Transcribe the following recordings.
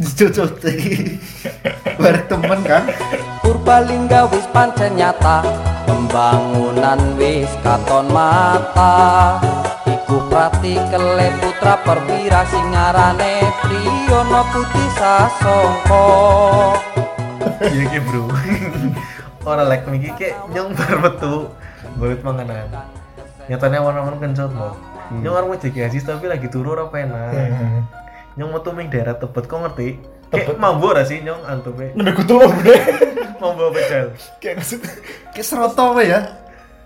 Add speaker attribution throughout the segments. Speaker 1: dicocoki bareng temen kan
Speaker 2: Purbalingga wis pancen nyata Pembangunan wis katon mata Iku pratikele putra perwira sing ngarane Triyono Putih Sasongko
Speaker 1: iya ki bro orang like miki kayak nyong bar metu buat manganan nyatanya warna-warna kencot mau
Speaker 3: Hmm.
Speaker 1: nyong orang mau jadi asis tapi lagi turu ora penak nyong metu ming daerah tebet kok ngerti kayak
Speaker 3: Tebet.
Speaker 1: mambu ora sih nyong antume
Speaker 3: Nendek kutu lo gede.
Speaker 1: mambu pecel
Speaker 3: Kayak maksud
Speaker 4: Kayak seroto apa ya?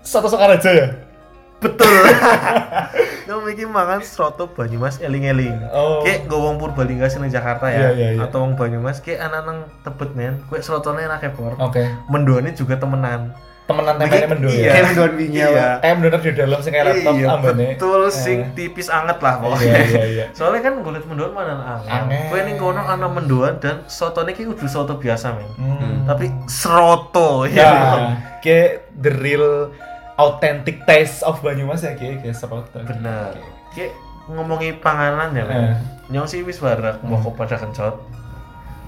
Speaker 3: satu sekar aja ya.
Speaker 1: betul nyong miki mangan soto Banyumas eling-eling
Speaker 3: Oh.
Speaker 1: kayak gue wong Purbalingga sini Jakarta ya
Speaker 3: Iya, iya, iya.
Speaker 1: atau wong Banyumas kayak anak nang tebet men kue serotone enak ekor
Speaker 3: Oke.
Speaker 1: mendoane juga temenan
Speaker 3: Temenan temennya mendul
Speaker 1: Iya.
Speaker 3: ya.
Speaker 4: Kayak mendoan wingi
Speaker 1: Iya.
Speaker 4: apa?
Speaker 3: Kayak mendoan di dalam sing kayak laptop
Speaker 1: iya,
Speaker 3: ambane.
Speaker 1: betul
Speaker 3: Eh,
Speaker 1: sing tipis anget lah pokoknya
Speaker 3: Iya, iya, iya.
Speaker 1: soalnya kan gue liat mendoan mana anget
Speaker 3: Anget.
Speaker 1: gue ini kono ana mendoan dan sotonya kayak udah soto biasa men
Speaker 3: Hmm.
Speaker 1: tapi seroto
Speaker 3: Ya,
Speaker 1: ya
Speaker 3: kayak the real authentic taste of Banyumas ya kayak kayak seroto.
Speaker 1: bener
Speaker 3: Oke.
Speaker 1: kayak ngomongi panganan ya men
Speaker 3: Eh. Hmm.
Speaker 1: nyong sih wis barak mau kok pada kencot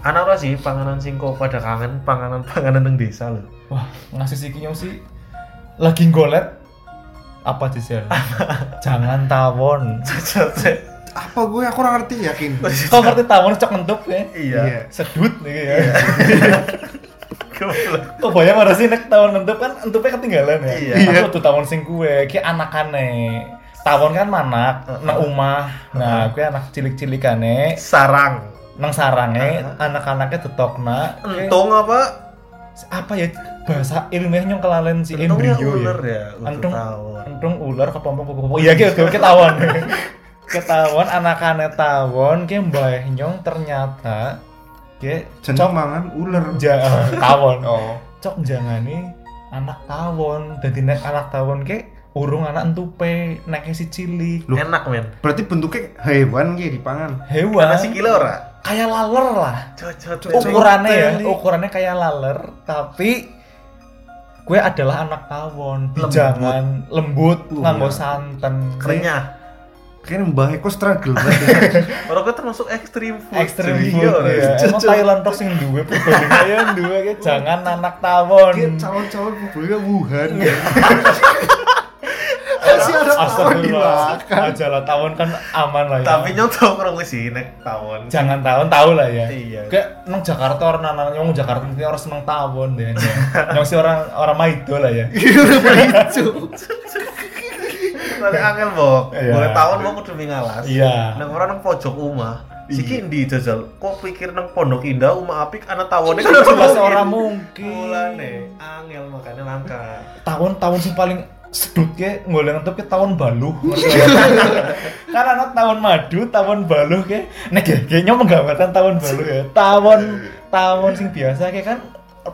Speaker 1: anak ora sih panganan sing kok pada kangen panganan panganan neng desa lho
Speaker 3: Wah, ngasih si kinyong sih lagi ngolet apa sih sel? Jangan tawon.
Speaker 1: Cocot.
Speaker 4: Apa gue aku kurang ngerti yakin.
Speaker 3: Kau ngerti tawon cok ngentup ya?
Speaker 1: iya
Speaker 3: Sedut nih ya.
Speaker 1: Goblok.
Speaker 3: Kok bayang ora sih nek tawon ngentup kan entupnya ketinggalan ya.
Speaker 1: Iya.
Speaker 3: Aku tuh tawon sing kue, ki anakane. Tawon kan manak, nang omah. Nah, kue anak cilik-cilikane,
Speaker 1: sarang
Speaker 3: nang sarange, anak-anaknya tetokna.
Speaker 1: entung apa
Speaker 3: Apa ya bahasa ilmiahnya yang kelalen si
Speaker 1: Untungnya
Speaker 3: embrio ya.
Speaker 1: ular ya, ular
Speaker 3: Antung,
Speaker 1: tawon.
Speaker 3: antung ular kepompong kepompong. Iya gitu, ketahuan. ketahuan anak-anak tawon, ki mbah nyong ternyata ki
Speaker 4: Jeneng mangan ular.
Speaker 3: ja- eh, tawon.
Speaker 4: Oh.
Speaker 3: cok jangan nih anak tawon jadi nek anak tawon ke urung anak entupe neknya si cilik
Speaker 4: Loh.
Speaker 1: Enak men.
Speaker 4: Berarti bentuknya hewan gitu dipangan.
Speaker 3: hewan
Speaker 1: Nasi gila ora?
Speaker 3: kayak laler lah
Speaker 1: Cocot.
Speaker 3: ukurannya ya
Speaker 4: Teli.
Speaker 3: ukurannya kayak laler tapi gue adalah anak tawon jangan lembut
Speaker 4: Wah.
Speaker 3: nganggo santen
Speaker 1: keringnya.
Speaker 4: Kayaknya mbah Eko struggle banget.
Speaker 1: Orang gue termasuk ekstrim food.
Speaker 3: ekstrim
Speaker 1: Jadi
Speaker 3: food
Speaker 1: ora.
Speaker 4: iya.
Speaker 3: ya. emang Thailand tos yang duwe perbanding yang duwe kayak jangan anak tawon
Speaker 4: Kayak
Speaker 1: Hmm.
Speaker 4: calon-calon publiknya Wuhan.
Speaker 1: Iya.
Speaker 4: ya. Masih ada tawon
Speaker 3: Astagfirullah,
Speaker 4: dimakan.
Speaker 3: ajalah tawon kan aman lah ya.
Speaker 1: Tapi nyong tau kurang gue sih nek tawon.
Speaker 3: jangan tahun tahu lah ya
Speaker 1: Iya.
Speaker 3: kayak nang Jakarta orang nang nang- nang Jakarta mungkin orang seneng tawon deh ya. yang si orang orang maido lah ya
Speaker 1: Soalnya angel bok.
Speaker 3: Iya.
Speaker 1: Boleh tawon bok kudu mingalas.
Speaker 3: Iya.
Speaker 1: Nang orang nang pojok rumah. Siki ndi jajal? Kok pikir nang Pondok Indah umah apik ana tawone kan
Speaker 3: Iya, jelas orang mungkin
Speaker 1: Mulane angel makanya langka.
Speaker 3: tahun tahun sing paling sedut ke ngoleh ngetop ke tahun baluh karena anak tahun madu tahun baluh ke nek ya kayaknya menggambarkan tahun baluh ya tahun tahun sing biasa ke kan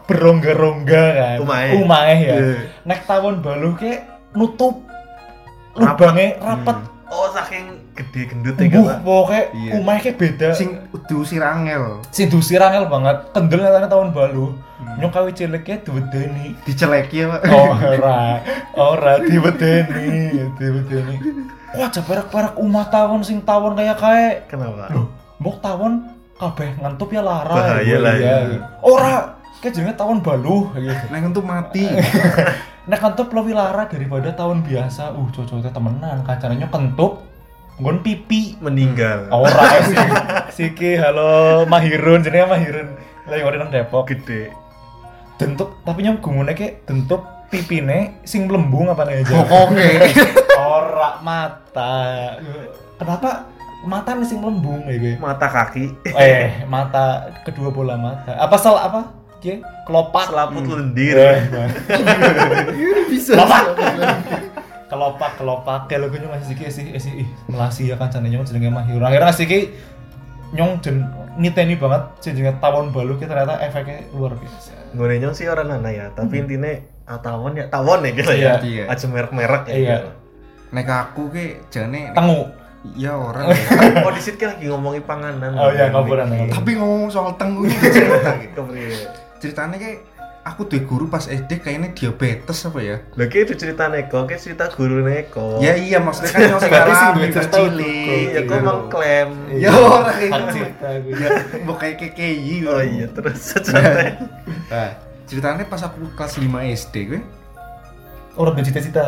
Speaker 3: berongga-rongga kan
Speaker 1: Umahe.
Speaker 3: Umahe ya
Speaker 4: Iya.
Speaker 3: nek tahun baluh ke nutup lubangnya rapet
Speaker 1: Oh saking gede gendutnya kan.
Speaker 3: Buh,
Speaker 1: Pak.
Speaker 3: pokoknya
Speaker 4: Iya.
Speaker 3: umahnya beda. Sing
Speaker 4: Sing diusir angel,
Speaker 3: sing dusir angel banget. Kendel nyatanya tahun baru. Nyong kawi ciliknya diwedeni.
Speaker 4: diceleki ya, Pak.
Speaker 3: Hmm. Ora, ora diwedeni, ya, diwedeni. Wah, jeperak-perak umah tawon sing tawon kayak kae.
Speaker 1: Kenapa?
Speaker 3: Loh, mbok tawon kabeh ngentup ya lara.
Speaker 1: Bahaya lah,
Speaker 3: Iya.
Speaker 1: iya.
Speaker 3: Ora, kayak jenenge tawon baluh gitu.
Speaker 4: Neng itu mati.
Speaker 3: Nek kentup lebih lara daripada tahun biasa. Uh, cocoknya temenan, kacaranya kentup nggon pipi.
Speaker 1: Meninggal.
Speaker 3: Ora sih. Siki halo Mahirun jenenge Mahirun. Lagi ngori nang Depok.
Speaker 1: Gede.
Speaker 3: Dentuk tapi nyong gumune ke dentuk pipine sing mlembung apa nih aja.
Speaker 4: Pokoknya.
Speaker 3: Ora mata. Kenapa mata nih sing mlembung ya gue?
Speaker 1: Mata kaki.
Speaker 3: Eh, mata kedua bola mata. Apa sel apa? Ki kelopak.
Speaker 1: Selaput lendir.
Speaker 3: Eh,
Speaker 4: Bisa.
Speaker 3: kelopak kelopak kayak lagunya masih siki sih eh, sih ih melasi ya kan caranya nyong jenenge mahir akhirnya siki nyong jen niteni banget jenenge tawon balu ki ternyata efeknya luar biasa
Speaker 1: Ngone nyong sih orang nana ya, tapi intinya ah, tawon ya, tawon ya gitu
Speaker 3: Hmm. Iya,
Speaker 1: ya.
Speaker 4: iya.
Speaker 1: Aja merek-merek ya.
Speaker 3: Iya.
Speaker 1: gitu.
Speaker 4: Nek aku ke jane
Speaker 3: tengu
Speaker 4: ya orang. ya.
Speaker 1: Oh, di situ lagi ngomongin panganan.
Speaker 3: Oh, iya, ngobrol, ngobrol.
Speaker 1: iya.
Speaker 4: Tapi ngomong soal tengu ini cerita gitu.
Speaker 1: Kemudian.
Speaker 4: Ceritanya kayak aku tuh guru pas SD kayaknya diabetes apa ya
Speaker 1: Lho ki itu iya. cerita Neko, ki cerita guru Neko.
Speaker 4: ya iya maksudnya kan yang
Speaker 3: Oh. Berarti sing
Speaker 4: sekarang
Speaker 3: duwe
Speaker 4: pas
Speaker 3: cerita
Speaker 4: cilik
Speaker 1: Iya, kok mengklaim.
Speaker 4: ya orang
Speaker 3: Iya. Hak
Speaker 4: itu
Speaker 3: cipta aku. iya.
Speaker 4: ya mau kayak KKI
Speaker 1: Oh iya, terus ceritanya.
Speaker 4: nah, ceritanya pas aku kelas 5 SD gue
Speaker 3: Orang bercita-cita.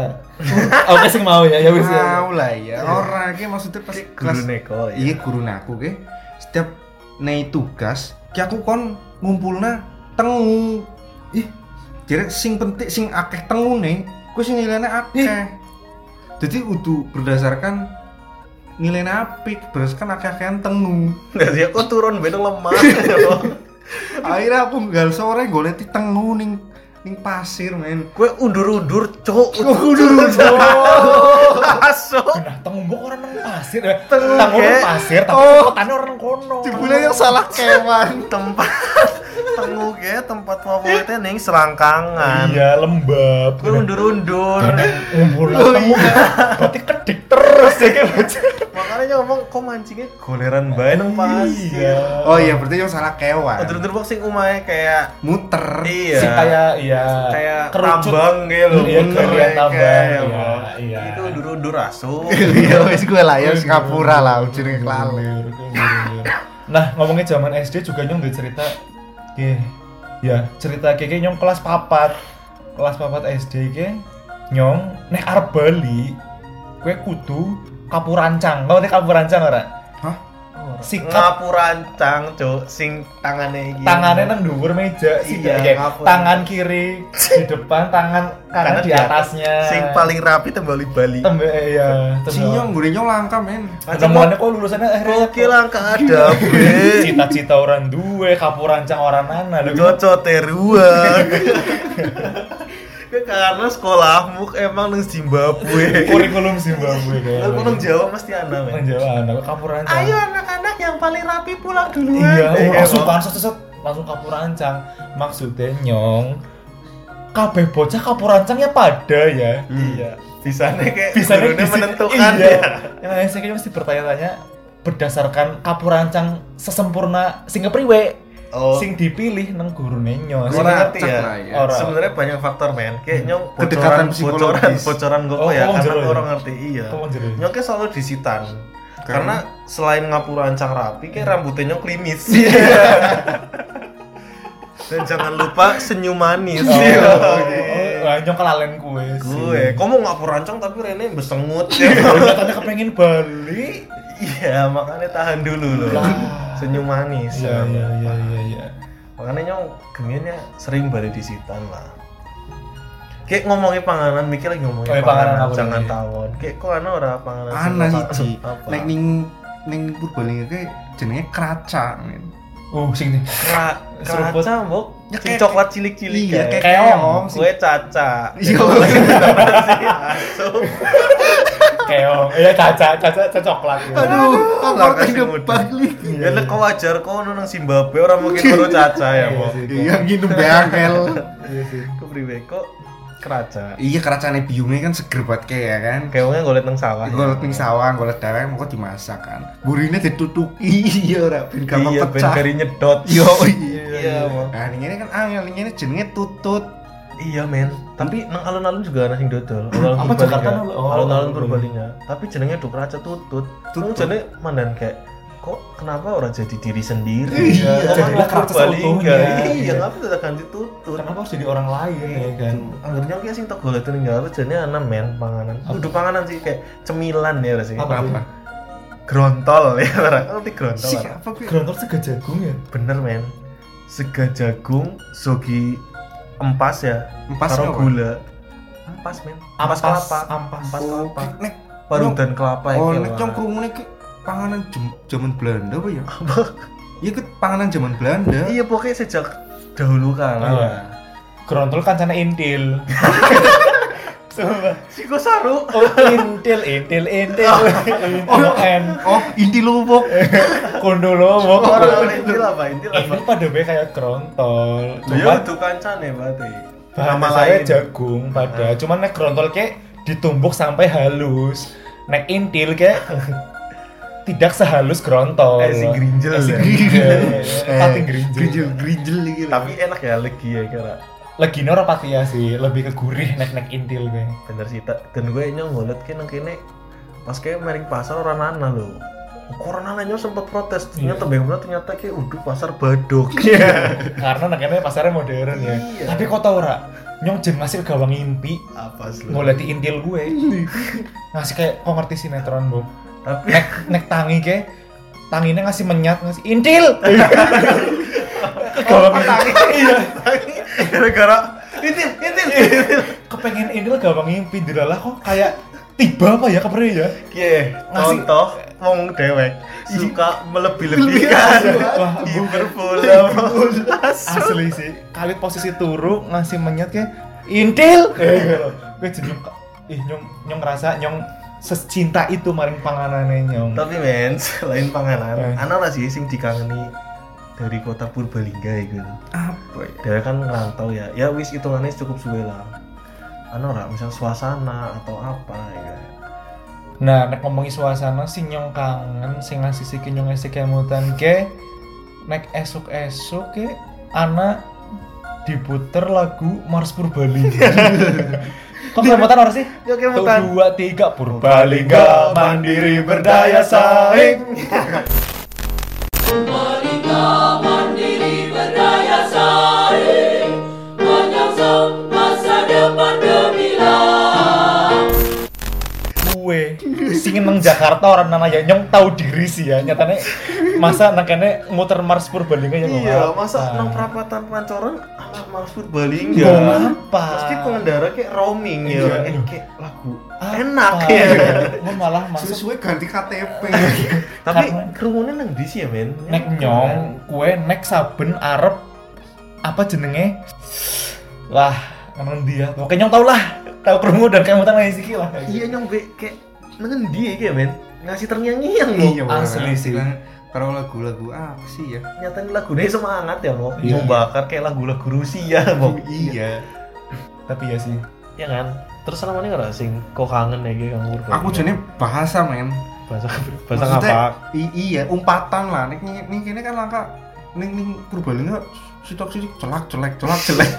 Speaker 3: Oke sing mau ya, ya wis ya.
Speaker 4: Tahu lah ya. Orang iki maksudnya pas
Speaker 1: Guru
Speaker 4: kelas
Speaker 1: Neko.
Speaker 4: iya guru aku ke setiap nei tugas ki aku kon ngumpulna tengu. Ih, jadi sing penting sing akeh tengu nih, ku sing nilainya akeh. Jadi udu berdasarkan nilainya apik, berdasarkan akeh-akehan tengu.
Speaker 1: Dari aku ya, turun beda lemah.
Speaker 4: Akhirnya aku nggak sore golek ti tengu ning ning pasir men.
Speaker 1: Gue undur-undur, cok. Masuk.
Speaker 3: Nah, tembok orang nang pasir. eh,
Speaker 1: Tengok,
Speaker 3: Tang orang
Speaker 1: ya.
Speaker 3: pasir, tapi
Speaker 4: Oh.
Speaker 3: kotane orang kono.
Speaker 4: Jebule ya. yang salah kewan.
Speaker 1: tempat tengu ge tempat favoritnya ning selangkangan.
Speaker 3: Iya, lembab.
Speaker 1: Gue undur-undur.
Speaker 4: Iya.
Speaker 3: Ngumpul
Speaker 4: Oh,
Speaker 3: lah temu. Berarti kedik terus ya kayak macam.
Speaker 1: Makanya ngomong kok mancingnya goleran bae nang pasir.
Speaker 4: Oh iya, berarti yang salah kewan.
Speaker 1: Undur-undur boxing umahnya kayak
Speaker 4: Muter.
Speaker 1: iya.
Speaker 3: Sing kayak iya.
Speaker 1: kayak
Speaker 3: kerucut.
Speaker 1: tambang gitu loh.
Speaker 3: Iya,
Speaker 1: bener
Speaker 3: kayak
Speaker 1: ya,
Speaker 3: tambang,
Speaker 1: kayak,
Speaker 3: iya,
Speaker 1: Bang.
Speaker 3: iya.
Speaker 1: Itu undur-undur asu.
Speaker 4: Iya wis gue lah ya Singapura lah ujine kelalen.
Speaker 3: Nah, ngomongin zaman SD juga nyong udah cerita Oke. Ya, cerita keke nyong kelas papat. Kelas papat SD ke nyong nek arep Bali kue kudu kapurancang. Kau nek kapurancang ora?
Speaker 4: Hah?
Speaker 3: Sikap
Speaker 1: ngapurancang cuk sing tangane iki
Speaker 3: tangannya nang dhuwur meja sih
Speaker 1: Iya,
Speaker 3: ya.
Speaker 1: ngapur.
Speaker 3: tangan kiri di depan tangan kanan di atasnya
Speaker 1: sing paling rapi tembali Bali
Speaker 3: tembe eh, iya
Speaker 4: Sinyong gue nyong langka men.
Speaker 3: ketemuannya kok lulusannya akhirnya
Speaker 1: Oke lah ada
Speaker 3: cita-cita orang duwe kapurancang orang nana Lah,
Speaker 1: Goco teruan Ya karena sekolahmu emang nang Zimbabwe
Speaker 3: kurikulum
Speaker 1: Lah
Speaker 3: Zimbabwe kayaknya.
Speaker 1: nang Jawa mesti ana
Speaker 3: Nang
Speaker 1: men
Speaker 3: Iya, Jawa anak kapurancang.
Speaker 1: Ayo anak-anak yang paling rapi pulang duluan
Speaker 3: Iya,
Speaker 1: Eh,
Speaker 3: oh, langsung
Speaker 1: emang.
Speaker 3: pansos seset langsung kapurancang. Maksudnya nyong kabeh bocah kapurancangnya pada ya.
Speaker 1: Iya Bisanya kayak
Speaker 3: Bisa
Speaker 1: gurunya menentukan
Speaker 3: iya.
Speaker 1: ya.
Speaker 3: Yang saya kayaknya mesti bertanya-tanya berdasarkan kapurancang sesempurna sing kepriwe
Speaker 1: Oh.
Speaker 3: sing iya. dipilih neng guru nyong.
Speaker 1: Gua
Speaker 4: Ora
Speaker 1: ngerti
Speaker 4: cek
Speaker 1: ya.
Speaker 4: lah ya.
Speaker 3: Ora.
Speaker 1: Sebenarnya banyak faktor men. Kayak nyong
Speaker 4: Kedekatan
Speaker 1: bocoran-
Speaker 4: psikologis.
Speaker 1: bocoran bocoran gue
Speaker 3: Hmm. Oh,
Speaker 1: ya
Speaker 3: ngomong
Speaker 1: karena
Speaker 3: jero ya?
Speaker 1: orang ngerti iya.
Speaker 3: Ngomong jero ya?
Speaker 1: Nyong kayak selalu disitan.
Speaker 4: Karena?
Speaker 1: Karena selain ngapura ancang rapi,
Speaker 3: Hmm.
Speaker 1: kayak rambutnya nyong klimis.
Speaker 3: Iya.
Speaker 1: Dan jangan lupa senyum manis.
Speaker 3: Oh,
Speaker 1: Iya.
Speaker 3: oh, oh, nyong kelalen kue sih.
Speaker 1: Gue, kamu ngapura ancang tapi Rene besengut.
Speaker 3: katanya kepengen Bali
Speaker 1: Iya, makanya tahan dulu loh.
Speaker 3: Lah.
Speaker 1: Senyum manis.
Speaker 3: iya iya iya iya iya
Speaker 1: makanya nyong gengennya sering balik di sitan lah kayak ngomongin panganan mikir lagi ngomongin
Speaker 3: Oh, iya,
Speaker 1: panganan,
Speaker 3: panganan apa
Speaker 1: jangan
Speaker 3: lagi?
Speaker 1: tawon kayak kok ana ora panganan sing
Speaker 4: Ana
Speaker 1: apa-
Speaker 4: siji.
Speaker 1: apa
Speaker 4: Nek ning ning Purbalingga ke jenenge keraca men.
Speaker 3: uh sing nih
Speaker 1: Kera-
Speaker 3: seruput.
Speaker 1: keraca mbok
Speaker 4: Ya,
Speaker 1: sing
Speaker 4: kayak-
Speaker 1: coklat cilik-cilik
Speaker 4: Iya
Speaker 1: kayak
Speaker 4: kayak
Speaker 3: Keong.
Speaker 4: keong sih.
Speaker 1: kue caca
Speaker 4: Iya.
Speaker 1: Asu.
Speaker 3: keong iya caca caca caca coklat ya.
Speaker 4: Aduh, kok
Speaker 1: Lah,
Speaker 4: ngerti
Speaker 1: kasih muda.
Speaker 4: Bali.
Speaker 1: ya lek kok wajar kok ono nang Zimbabwe orang mungkin baru caca ya mbok
Speaker 4: Iya nginum bangkel.
Speaker 3: iya sih
Speaker 1: kepriwe kok keraca
Speaker 4: Iya keracane biume kan seger banget kayak ya kan.
Speaker 1: kayaknya golek nang sawah
Speaker 4: Golet ning sawah, golet darah mau dimasak kan. Burine ditutuki iya ora ben gampang
Speaker 1: iya ben
Speaker 4: pecah.
Speaker 1: kari nyedot
Speaker 4: Yo iya.
Speaker 1: iya Mbok.
Speaker 4: Nah, ini kan angel, ini jenenge tutut.
Speaker 1: Iya men, tapi nang alun-alun juga ana sing dodol.
Speaker 3: Apa
Speaker 1: Alun-alun
Speaker 3: Jakarta
Speaker 1: Purbalingga.
Speaker 3: dulu? Oh,
Speaker 1: Alun-alun
Speaker 3: Alun-alun.
Speaker 1: Purbalingga. Tapi jenenge Duk Raja Tutut. Tutut
Speaker 4: Tutut.
Speaker 1: jenenge mandan kayak kok kenapa orang jadi diri sendiri?
Speaker 3: Iya,
Speaker 1: Kok
Speaker 3: jadilah
Speaker 1: orang
Speaker 3: Raja
Speaker 1: Purbalingga.
Speaker 3: seutuhnya.
Speaker 1: Iya, ngapa tidak ganti Tutut?
Speaker 3: kenapa harus jadi orang lain ya kan
Speaker 1: Anggernya kayak sing tak golek ning Jakarta jenenge ana men panganan. Kudu panganan sih kayak cemilan ya sih.
Speaker 3: Apa?
Speaker 4: Apa?
Speaker 1: Grontol ya orang. Ngerti grontol.
Speaker 4: Sik
Speaker 1: orang?
Speaker 4: apa kuwi?
Speaker 3: Groundhog sega jagung ya
Speaker 1: Bener men. Sega jagung, sogi empas ya.
Speaker 4: Empas
Speaker 1: Taruh
Speaker 4: apa?
Speaker 1: gula. Empas men. Empas,
Speaker 3: Ampas,
Speaker 1: kelapa.
Speaker 3: ampas.
Speaker 1: Empas
Speaker 4: Oh,
Speaker 1: kelapa.
Speaker 4: nek
Speaker 1: Parutan kelapa ya.
Speaker 4: Oh,
Speaker 1: kayak
Speaker 4: nek
Speaker 1: orang.
Speaker 4: cong krungune ki panganan jem- zaman Belanda apa ya? Iya ki panganan zaman Belanda.
Speaker 1: Iya pokoknya sejak dahulu kan. kala.
Speaker 3: Iya. Groundhog kan sana intil Sumpah.
Speaker 1: Si Kosaru.
Speaker 3: Oh, intil, intil, intil, intil, en,
Speaker 4: Oh, inti lubuk.
Speaker 3: Iya, kondolowo,
Speaker 1: Orang intil apa? Intil apa?
Speaker 3: ini pada be kayak kerontol,
Speaker 1: Iya
Speaker 3: cuman
Speaker 1: itu kancane berarti.
Speaker 3: bahan
Speaker 1: Nama
Speaker 3: dasarnya
Speaker 1: lain. Ah.
Speaker 3: jagung pada cuman nek kerontol ke ditumbuk sampai halus nek intil ke tidak sehalus kerontol
Speaker 1: Eh, sing grinjel
Speaker 3: Eh, sing
Speaker 1: ya.
Speaker 3: Eh, grinjel. Kating grinjel.
Speaker 4: Grinjel, grinjel iki. lho.
Speaker 1: Tapi enak ya legi ya kira.
Speaker 3: legine ora patia sih, lebih ke gurih nek-nek intil gue.
Speaker 1: bener sih tak dan gue nyong ngolet ki nang kene pas kayak maring pasar orang nana lho Corona nanya sempat protes ternyata bagaimana ternyata kayak udah pasar badok
Speaker 3: Karena nek kene pasarnya modern
Speaker 1: Iya.
Speaker 3: ya. Tapi kok tau ora? Nyong jen ngasih gawang impi,
Speaker 1: apa Iya. sih lu?
Speaker 3: ngoleti intil gue. ngasih kayak kok ngerti sinetron, Bu.
Speaker 1: tapi
Speaker 3: Nek nek tangi ke tanginya ngasih menyat ngasih intil. Gawang tangi. Iya.
Speaker 1: gara-gara Iya, ini ini
Speaker 3: Kepengen intil gawang impi dilalah kok kayak tiba apa ya kepriye ya?
Speaker 1: Iya,
Speaker 3: Ngasih-
Speaker 1: contoh wong dewek Iya. suka melebih-lebihkan
Speaker 3: Wah, Bu.
Speaker 1: hiperbola
Speaker 3: asli sih kali posisi turu ngasih menyet kayak intil Eh, gue jadi ih nyong nyong ngerasa nyong secinta itu maring panganane nyong
Speaker 1: tapi men selain panganan
Speaker 3: Eh.
Speaker 1: ana ora sih sing dikangeni dari kota Purbalingga iku
Speaker 4: apa ya
Speaker 1: dia kan ngerantau ya ya wis hitungannya cukup suwe lah ana ora misal suasana atau apa ya
Speaker 3: nah nek ngomongi suasana si nyong kangen sing ngasih si nyong esik kemutan ke nek esuk esuk ke anak diputer lagu Mars Purbalingga kok kemutan orang sih
Speaker 1: Ya,
Speaker 3: Satu,
Speaker 1: kemutan.
Speaker 3: dua tiga Purbalingga mandiri berdaya saing
Speaker 5: Merdeka mandiri berdaya saing Menyongsong masa depan gemilang
Speaker 3: kue sing nang Jakarta orang nana ya nyong tahu diri sih ya nyatane masa nakene muter Mars Purbalingga ya
Speaker 1: iya masa nang perapatan pancoran ala Mars Purbalingga
Speaker 3: Mau ngapa?
Speaker 1: pasti pengendara kayak roaming ya
Speaker 3: Iya,
Speaker 1: Eh,
Speaker 3: aduh.
Speaker 1: kayak lagu
Speaker 3: Apa?
Speaker 1: enak ya
Speaker 3: Mau malah masuk
Speaker 4: sesuai ganti KTP
Speaker 3: Iya,
Speaker 1: tapi
Speaker 3: Karena-
Speaker 1: kerumunan nang di sih ya men
Speaker 3: nek nyong kue nek saben arep apa jenenge lah emang dia pokoknya nyong tau lah tahu kerungu dan kayak muter nang siki lah
Speaker 1: iya nyong gue kayak nengen dia kayak men ngasih terngiang-ngiang loh
Speaker 4: iya
Speaker 3: asli sih.
Speaker 4: kalau lagu-lagu apa sih ya
Speaker 1: nyatanya lagunya semangat ya mau
Speaker 3: Iya.
Speaker 1: membakar kayak lagu-lagu Rusia ya, mau
Speaker 4: iya
Speaker 3: tapi ya sih
Speaker 1: ya kan terus sama ini nggak sing kok kangen ya kayak kangen
Speaker 3: iya.
Speaker 1: Purbalingga?
Speaker 4: aku jenis bahasa men
Speaker 1: bahasa bahasa
Speaker 4: Maksudnya,
Speaker 1: apa
Speaker 4: i- iya umpatan lah nih nih kini kan langka nih nih Purbalingga sitok sitok celak celak celak celak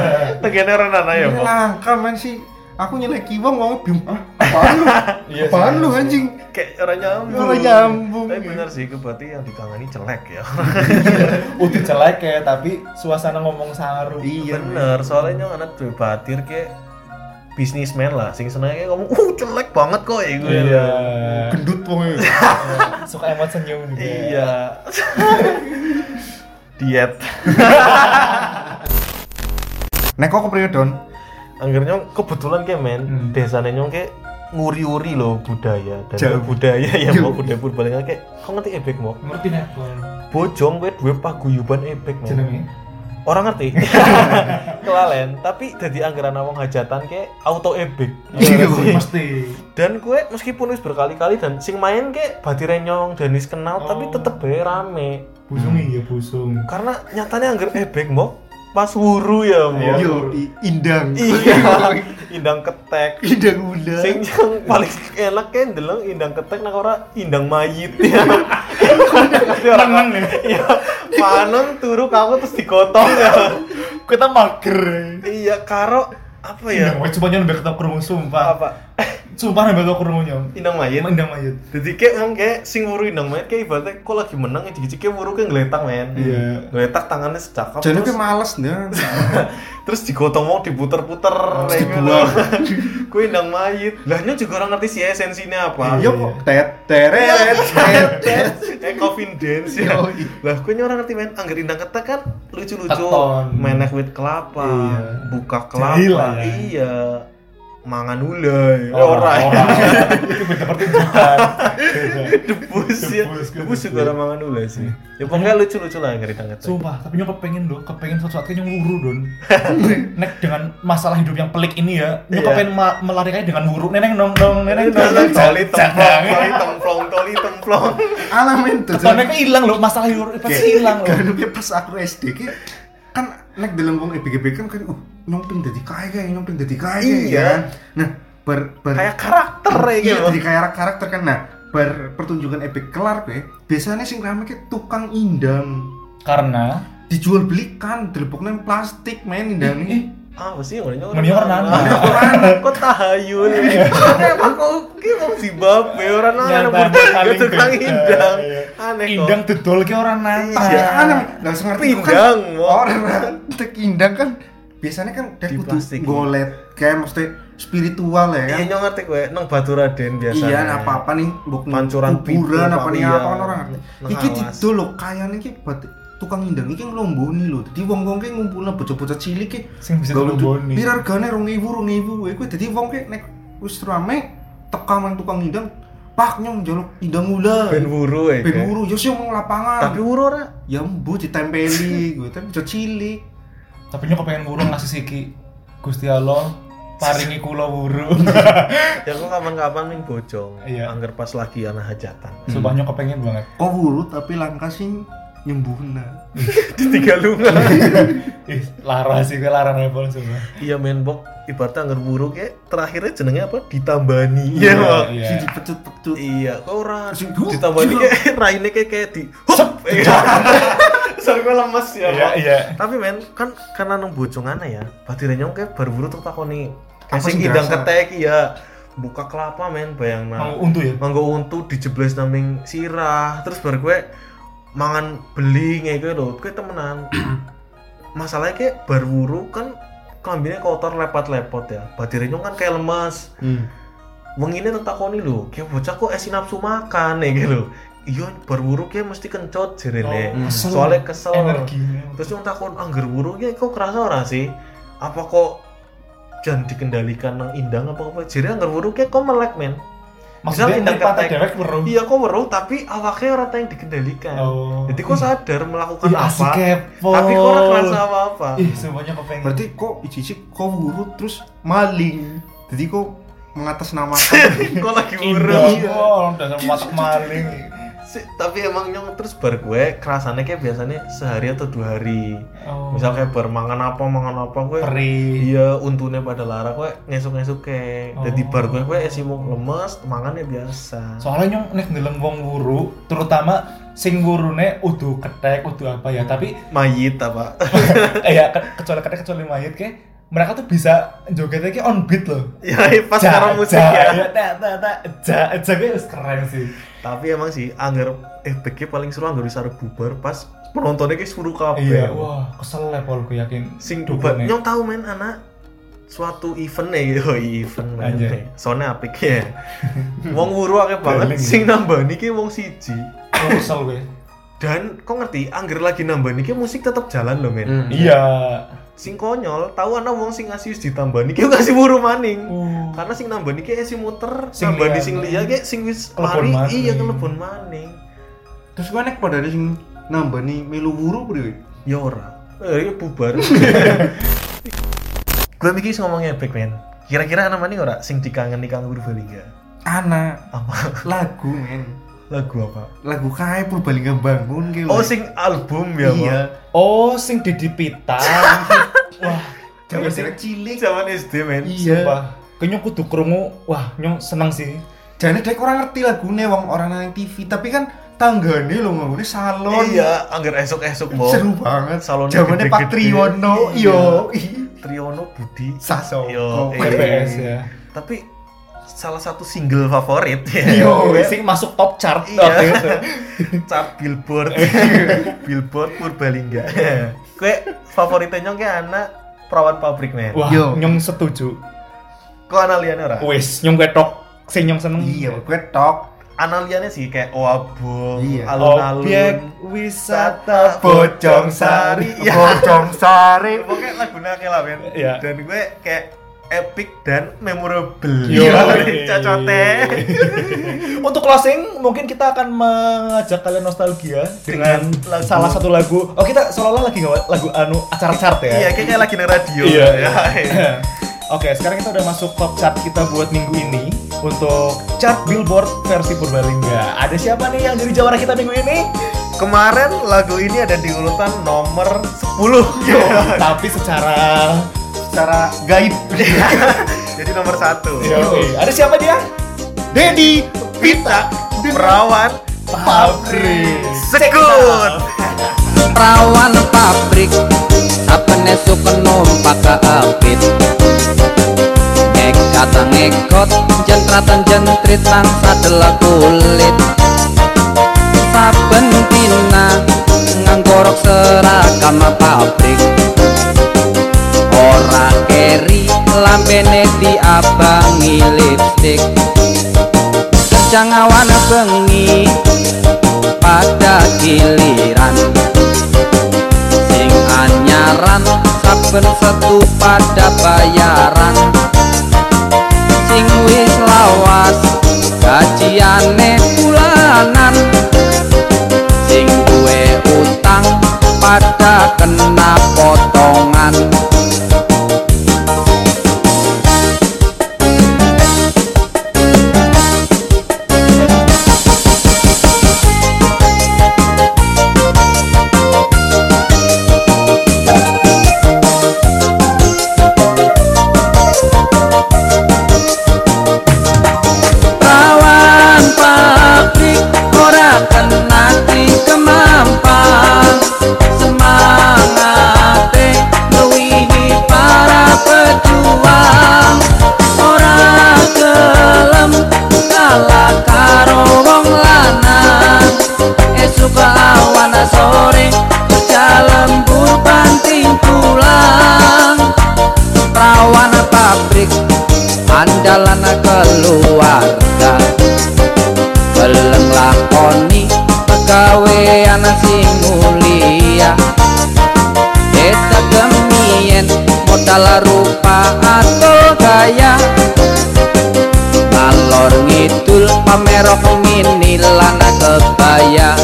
Speaker 1: tegene orang nana ya
Speaker 4: ini
Speaker 1: Pak?
Speaker 4: langka men sih aku nyeleki wong wong bim apaan lu
Speaker 3: Iya sih,
Speaker 4: apaan lu
Speaker 3: iya sih.
Speaker 4: anjing
Speaker 1: kayak orang nyambung
Speaker 4: Iya, Orang nyambung. iya.
Speaker 1: tapi benar sih itu berarti yang dikangeni jelek ya
Speaker 3: udah jelek ya tapi suasana ngomong saru
Speaker 4: iya
Speaker 1: bener soalnya nyong anak duwe batir kayak bisnismen lah sing seneng kayak ngomong uh jelek banget kok ya gue
Speaker 3: iya
Speaker 4: gendut wong ya.
Speaker 3: suka emot senyum juga
Speaker 1: iya diet
Speaker 4: nek kok kepriye don
Speaker 1: akhirnya kebetulan kayak men
Speaker 3: Hmm.
Speaker 1: desanya nyong kayak nguri-uri loh budaya dan
Speaker 4: Jauh.
Speaker 1: budaya ya
Speaker 4: Jauh.
Speaker 1: mau budaya purbalingga kayak kau ngerti ebek mau
Speaker 3: ngerti nek Bon?
Speaker 1: Oh. bojong gue dua paguyuban ebek men
Speaker 3: jenenge
Speaker 1: orang ngerti kelalen tapi jadi anggaran awang hajatan kayak auto ebek
Speaker 4: Iya,
Speaker 3: mesti
Speaker 1: dan gue meskipun wis berkali-kali dan sing main kayak batire nyong dan wis kenal tapi
Speaker 3: Oh.
Speaker 1: tetep bae rame
Speaker 3: busung
Speaker 1: Hmm.
Speaker 3: iya busung
Speaker 1: karena nyatanya anggar ebek mau pas wuru ya mau
Speaker 4: yo i- indang
Speaker 1: iya indang ketek
Speaker 4: indang unda
Speaker 1: sing yang paling enak kayak ndeleng indang ketek nang ora indang mayit ya Jadi orang
Speaker 3: Menang,
Speaker 1: ya panon turu kamu terus digotong ya
Speaker 3: kita mager
Speaker 1: iya karo apa ya
Speaker 3: ya cuma nyong nambah ketemu kerungu sumpah
Speaker 1: apa Eh, Iya.
Speaker 3: sumpah nambah ketemu kerungu nyong
Speaker 1: indang mayit
Speaker 3: emang indah mayat
Speaker 1: jadi kayak emang kayak sing wuru indang mayit kayak ibaratnya kok lagi menang ya jiki wuru kayak ngeletak men
Speaker 3: Iya.
Speaker 1: ngeletak tangannya secakap
Speaker 4: jadi
Speaker 1: terus,
Speaker 4: kayak males nih
Speaker 1: terus digotong mau diputer-puter kayak gitu.
Speaker 4: dibuang.
Speaker 1: gue indang mayit lahnya juga orang ngerti sih esensinya apa
Speaker 4: yo kok Iya, tet teret tet tet
Speaker 1: eh coffin dance ya
Speaker 4: Yoi.
Speaker 1: lah gue orang ngerti main angger indang ketek kan lucu-lucu
Speaker 3: Keton.
Speaker 1: mainnya with kelapa
Speaker 3: Iya.
Speaker 1: buka
Speaker 3: Jahil lah
Speaker 1: kelapa
Speaker 3: ya.
Speaker 1: iya mangan ulai
Speaker 3: Oh,
Speaker 1: Ora. oh.
Speaker 3: itu beda pertunjukan Beda.
Speaker 1: debus ya
Speaker 3: Debus, gue
Speaker 1: debus
Speaker 3: debus.
Speaker 1: juga orang mangan ulai sih ya pokoknya lucu-lucu lah angger indang ketek
Speaker 3: sumpah tapi nyong kepengen dong kepengen suatu saat nyong wuru don nek dengan masalah hidup yang pelik ini ya nyong
Speaker 1: Iya.
Speaker 3: kepengen ma- melarikannya dengan wuru neneng dong dong neneng dong
Speaker 1: Jalan jali templong,
Speaker 3: Jangan.
Speaker 1: jali templong, jali templong.
Speaker 4: alamin tuh
Speaker 3: Kesannya kayak hilang loh, masalah hidup pasti hilang loh.
Speaker 4: Karena dia pas aku SD ki kan nek dalam wong EBGB kan kan uh nyomping dari kaya kayak nyomping dari kaya kayak,
Speaker 1: Iya.
Speaker 4: kan. Nah, ber ber
Speaker 1: Kayak karakter ya
Speaker 4: iya,
Speaker 1: gitu.
Speaker 4: jadi kayak karakter kan nah ber pertunjukan EBG kelar kayak biasanya sing rame kayak tukang indang
Speaker 3: Karena
Speaker 4: dijual belikan deleboknya plastik men indah nih
Speaker 1: Ah, mesti orangnya
Speaker 3: Mending orang nana. Iya.
Speaker 1: Kok tahayul? Emang kok ki mau si bape orang nana
Speaker 3: Nyatanya
Speaker 1: Itu tukang
Speaker 3: beda,
Speaker 1: indang.
Speaker 3: iya.
Speaker 1: Aneh kok.
Speaker 3: Indang didol ke orang nantang.
Speaker 4: Iya, aneh. Nggak usah ngerti. itu
Speaker 1: Pindang,
Speaker 4: kan,
Speaker 1: Mo.
Speaker 4: orang nanti indang kan biasanya kan dia
Speaker 1: Di
Speaker 4: kudu
Speaker 1: plastik.
Speaker 4: golet kayak maksudnya spiritual ya
Speaker 1: Iya
Speaker 4: kan.
Speaker 1: nyong ngerti kowe nang Batu Raden biasa.
Speaker 4: Iya, nah apa apa nih, buk
Speaker 1: Pancuran
Speaker 4: kuburan
Speaker 1: pitu,
Speaker 4: apa nih
Speaker 1: iya.
Speaker 4: apa kan orang ngerti.
Speaker 1: Nang
Speaker 4: Iki
Speaker 1: alas.
Speaker 4: didol lho, kayane iki bat- tukang indang iki nglomboni lho. Dadi wong-wong ki ngumpulna bocah-bocah cilik ki
Speaker 3: Sing bisa
Speaker 4: gawe du-
Speaker 3: nglomboni.
Speaker 4: Pira regane 2000, 2000 Ya kuwi. Kuwi dadi wong ki nek wis rame teka mang tukang indang, pak nyong njaluk indang ula.
Speaker 1: Ben wuru ya.
Speaker 4: Ben wuru, yo sing wong lapangan.
Speaker 1: Tapi wuru ora.
Speaker 4: ya mbu ditempeli gue tapi bocah cilik
Speaker 3: Tapi nyok pengen ngurung ngasih siki. Gusti Allah paringi kula wurung.
Speaker 1: Ya kok kapan-kapan ning bojong.
Speaker 3: Iya.
Speaker 1: Angger pas lagi ana hajatan.
Speaker 3: Sumpah nyok kepengen banget.
Speaker 4: kok wurut tapi langkah sing nyembuhna
Speaker 1: Di tiga lunga.
Speaker 3: Ih, lara sih gue larang Apple sumpah.
Speaker 1: Iya men bok ibaratnya angger wuru ki terakhirnya jenenge apa? Ditambani.
Speaker 3: Iya,
Speaker 1: Iya, Bok.
Speaker 3: iya.
Speaker 4: sing dipecut-pecut
Speaker 1: Iya, kok ora
Speaker 4: Sing-
Speaker 1: ditambani kayak raine kayak kayak di hop. Soalnya gue lemes ya.
Speaker 3: Iya,
Speaker 1: Bok.
Speaker 3: iya.
Speaker 1: Tapi men kan karena nang bojongane ya, badire nyong kayak baru buru tak takoni.
Speaker 4: Apa
Speaker 1: Sing
Speaker 4: sing
Speaker 1: idang
Speaker 4: dirasa?
Speaker 1: ketek ya buka kelapa men bayangna.
Speaker 3: Mau untu ya.
Speaker 1: Manggo untu dijebles naming sirah, terus bar gue mangan beling kayak gitu lho. Gue temenan. Masalahnya kayak baru buru kan kambingnya kotor lepot-lepot ya. Badire nyong kan kayak lemes. Wong ini tak takoni lho, kayak bocah kok esi nafsu makan ya gitu. Iya, berburu kayak mesti kencot jerene.
Speaker 3: Oh, kesel.
Speaker 1: Soalnya kesel.
Speaker 3: Energinya.
Speaker 1: Terus yang takon angger wuru ki kok kerasa ora sih? Apa kok jangan dikendalikan nang indang apa apa jadi angger wuru ki kok melek men
Speaker 3: maksudnya
Speaker 1: Misal
Speaker 3: ini patah
Speaker 1: ketek.
Speaker 3: dewek weruh.
Speaker 1: iya kok weruh tapi awaknya ora tau yang dikendalikan
Speaker 3: Oh.
Speaker 1: jadi kok sadar melakukan
Speaker 3: Ih, asik
Speaker 1: apa
Speaker 3: kepo.
Speaker 1: tapi kok ora kerasa apa-apa
Speaker 3: Ih, semuanya kepengen.
Speaker 4: berarti kok ijik kok wurut terus maling jadi kok mengatasnamakan
Speaker 1: kok lagi wuru
Speaker 3: Indah, Bol, dasar masak maling.
Speaker 1: Si- tapi emang nyong terus bar gue kerasannya kayak biasanya sehari atau dua hari
Speaker 3: Oh.
Speaker 1: misal kayak bar mangan apa mangan apa gue
Speaker 3: Peri.
Speaker 1: iya untune pada lara gue ngesuk-ngesuk kayak jadi
Speaker 3: Oh.
Speaker 1: bar gue gue esi wong lemes mangannya biasa
Speaker 3: soalnya nyong nek ndeleng wong wuru terutama sing wurune udu ketek udu apa ya tapi
Speaker 1: mayit apa
Speaker 3: eh, ya ke- kecuali ketek kecuali mayit ke mereka tuh bisa jogetnya ke on beat loh
Speaker 1: ya pas sekarang musik ya
Speaker 3: tak tak tak ja ja kayak wis keren sih
Speaker 1: tapi emang sih angger FBG ya paling seru angger bisa bubar pas penontonnya kayak suruh kabeh
Speaker 3: iya wah kesel lah Paul gue yakin
Speaker 1: sing bubar
Speaker 3: dukungnya.
Speaker 1: nyong tahu men anak suatu event nih yo event men
Speaker 3: Anjay.
Speaker 1: soalnya apik ya wong wuru akeh banget
Speaker 3: Galing.
Speaker 1: sing nambah niki wong siji
Speaker 3: Wah, kesel gue
Speaker 1: dan kok ngerti angger lagi nambah niki musik tetap jalan loh men
Speaker 3: iya
Speaker 1: sing konyol tahu ana wong sing ngasih ditambah niki ngasih wuru maning
Speaker 4: Hmm.
Speaker 3: Uh.
Speaker 1: karena sing nambah niki esi muter
Speaker 3: Sing
Speaker 1: sing nambah di
Speaker 3: liya.
Speaker 1: sing liya kayak sing wis
Speaker 3: Kelebon
Speaker 1: lari
Speaker 3: maning.
Speaker 1: iya kelebon maning
Speaker 4: terus gue nek pada sing nambah nih melu wuru bro
Speaker 1: ya ora eh iya bubar gue mikir ngomongnya back man kira-kira anak maning ora sing dikangeni kang Purbalingga
Speaker 4: anak
Speaker 1: apa
Speaker 4: lagu men
Speaker 1: lagu apa
Speaker 4: lagu kae Purbalingga bangun gitu
Speaker 1: oh sing album ya
Speaker 4: iya
Speaker 1: Bang.
Speaker 3: oh sing Didi Pita wah
Speaker 4: jaman
Speaker 3: iya sih.
Speaker 4: dia cilik
Speaker 1: zaman SD men
Speaker 4: iya
Speaker 3: Sumpah. Kayaknya kudu krungu, wah nyong seneng sih.
Speaker 4: jadi dek orang ngerti lagune wong orang nang TV tapi kan tanggane lho ngomongnya salon
Speaker 1: iya angger esok-esok mau
Speaker 4: seru banget
Speaker 1: Salonnya
Speaker 4: zamannya Pak
Speaker 1: gede-gede.
Speaker 4: Triwono
Speaker 1: Iya.
Speaker 4: yo
Speaker 1: Triono Budi
Speaker 4: Saso
Speaker 1: Yo,
Speaker 4: Oke.
Speaker 1: iya.
Speaker 3: TPS ya.
Speaker 1: tapi salah satu single favorit ya
Speaker 3: Yo, sing masuk top chart
Speaker 1: Iya.
Speaker 3: waktu itu.
Speaker 1: cap billboard billboard Purbalingga kue favoritnya nyong kayak anak perawan pabrik men
Speaker 3: Wah,
Speaker 4: Yo.
Speaker 3: nyong setuju.
Speaker 1: kok analiannya ora
Speaker 3: Wis, nyong ketok sing nyong seneng.
Speaker 4: iya gue tok
Speaker 1: analiannya sih kayak oabong
Speaker 4: Iya.
Speaker 1: alun-alun
Speaker 3: Objek wisata Bojong Sari.
Speaker 1: Iya.
Speaker 4: Bojong Sari
Speaker 1: pokoknya lagunya kayak lah men
Speaker 3: Iya.
Speaker 1: dan gue kayak epic dan memorable
Speaker 3: Yo.
Speaker 1: cacote
Speaker 3: Untuk closing, mungkin kita akan mengajak kalian nostalgia dengan,
Speaker 1: Dengan lagu-
Speaker 3: salah satu lagu. Oh, kita seolah-olah lagi nggak lagu anu acara chart ya.
Speaker 1: iya kayak kayak lagi di radio
Speaker 3: Iya.
Speaker 1: ya.
Speaker 3: Oke, sekarang kita udah masuk top chart kita buat minggu ini untuk chart Billboard versi Purbalingga. Ada siapa nih yang jadi jawara kita minggu ini?
Speaker 1: kemarin lagu ini ada di urutan nomor 10
Speaker 3: Tapi secara
Speaker 4: secara gaib Iya.
Speaker 1: jadi nomor satu
Speaker 3: Yoi. ada siapa dia?
Speaker 4: Dedi Pita
Speaker 1: perawan
Speaker 3: Pabrik.
Speaker 1: sekut
Speaker 2: prawan pabrik saben esuk numpak keapit nekat ngekot jentratan jentrit tangsa delok kulit saben dina nganggorok seragam pabrik ora keri lambene diabangi lipstik Kencang awan bengi pada giliran sing anyaran saben setu pada bayaran sing wis lawas gajiane bulanan sing duwe utang pada kena potongan Rawan pabrik ora kena dikemampan Semangate luwini para pejuang Ora gelem kalah karo wong lanang Esuk awan sore kerja lembur banting tulang Rawan pabrik andalan keluarga gelem lakoni pegawean sing mulia eta gemien modal rupa atau gaya alor ngidul pamerok mini lan kebaya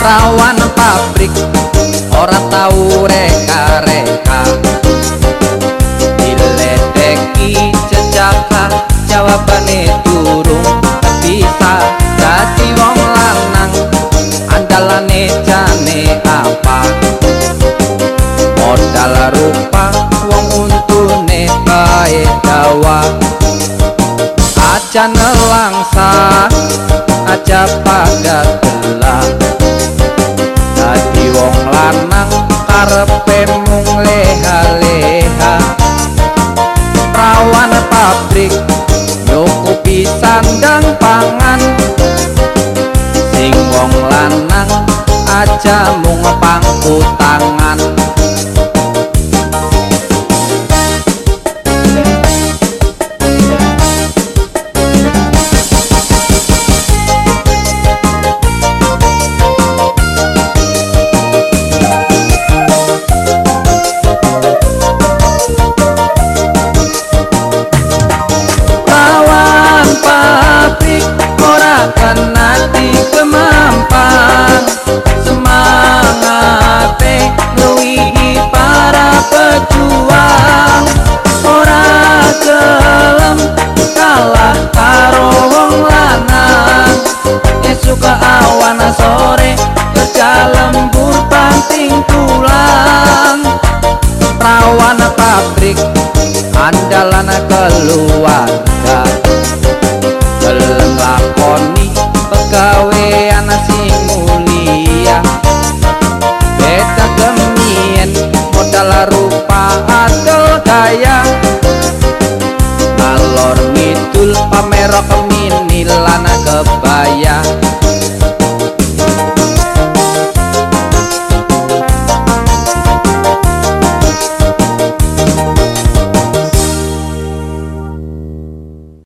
Speaker 2: rawan pabrik ora tau reka-reka diledeki jejaka jawabane durung bisa dadi wong lanang andalane jane apa modal rupa wong untune bae dawa aja nelangsa aja pada gelang Dadi wong lanang karepe mung leha-leha Rawan pabrik nyukupi sandang pangan Sing wong lanang aja mung pangku tangan Lawan pabrik ora kena dikemampan Semangate ngluwihi para pejuang Ora gelem kalah karo wong lanang Esuk awan sore kerja lembur banting tulang rawan pabrik andalan keluarga gelem lakoni pegawean sing mulia beta gemien modal rupa adol gaya alor ngidul pamerok mini lan